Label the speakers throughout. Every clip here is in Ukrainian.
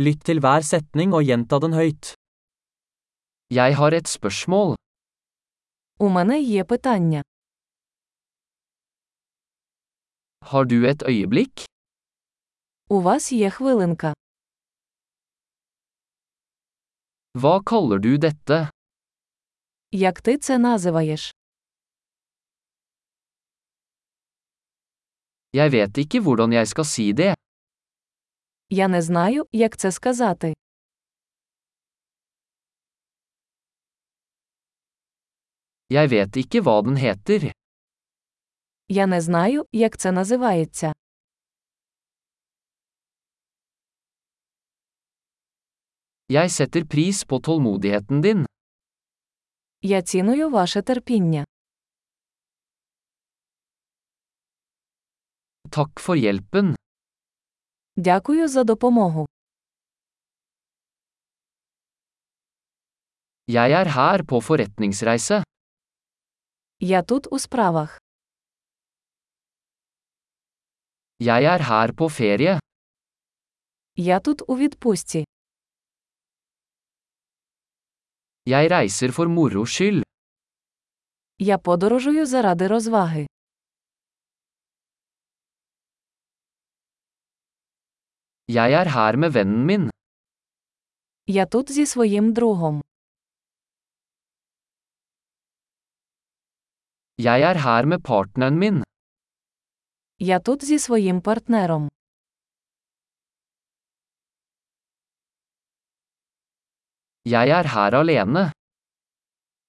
Speaker 1: Lytt til hver setning og gjenta den høyt. Jeg har et spørsmål.
Speaker 2: У мене є питання.
Speaker 1: Har du et øyeblikk?
Speaker 2: У вас є хвилинка.
Speaker 1: Hva kaller du dette?
Speaker 2: Як ти це називаєш?
Speaker 1: Jeg vet ikke hvordan jeg skal si det.
Speaker 2: Я не знаю, як це сказати.
Speaker 1: Jeg vet ikke hva den heter.
Speaker 2: Я не знаю, як це називається.
Speaker 1: Jeg setter pris på tålmodigheten din.
Speaker 2: Я ціную ваше терпіння.
Speaker 1: Takk for hjelpen.
Speaker 2: Дякую за допомогу.
Speaker 1: Jeg er her på forretningsreise.
Speaker 2: Я тут у справах.
Speaker 1: Jeg er her på ferie.
Speaker 2: Я тут у відпустці.
Speaker 1: Jeg reiser for moro skyld.
Speaker 2: Я подорожую заради розваги.
Speaker 1: Jeg er her med vennen min.
Speaker 2: Я тут зі своїм другом.
Speaker 1: Jeg er her med partneren min.
Speaker 2: Я тут зі своїм партнером.
Speaker 1: Jeg er her alene.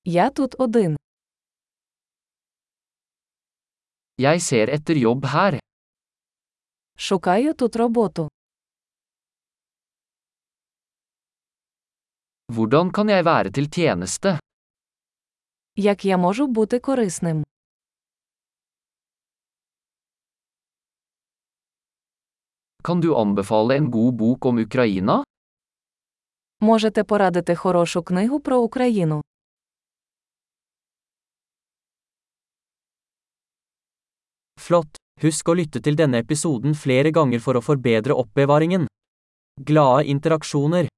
Speaker 2: Я тут один.
Speaker 1: Jeg ser etter jobb her.
Speaker 2: Шукаю тут роботу.
Speaker 1: Hvordan kan jeg være til tjeneste?
Speaker 2: Як я можу бути корисним?
Speaker 1: Kan du anbefale en god bok om Ukraina?
Speaker 2: Можете порадити хорошу книгу про Україну.
Speaker 1: Flott! Husk å lytte til denne episoden flere ganger for å forbedre oppbevaringen. Glade interaksjoner!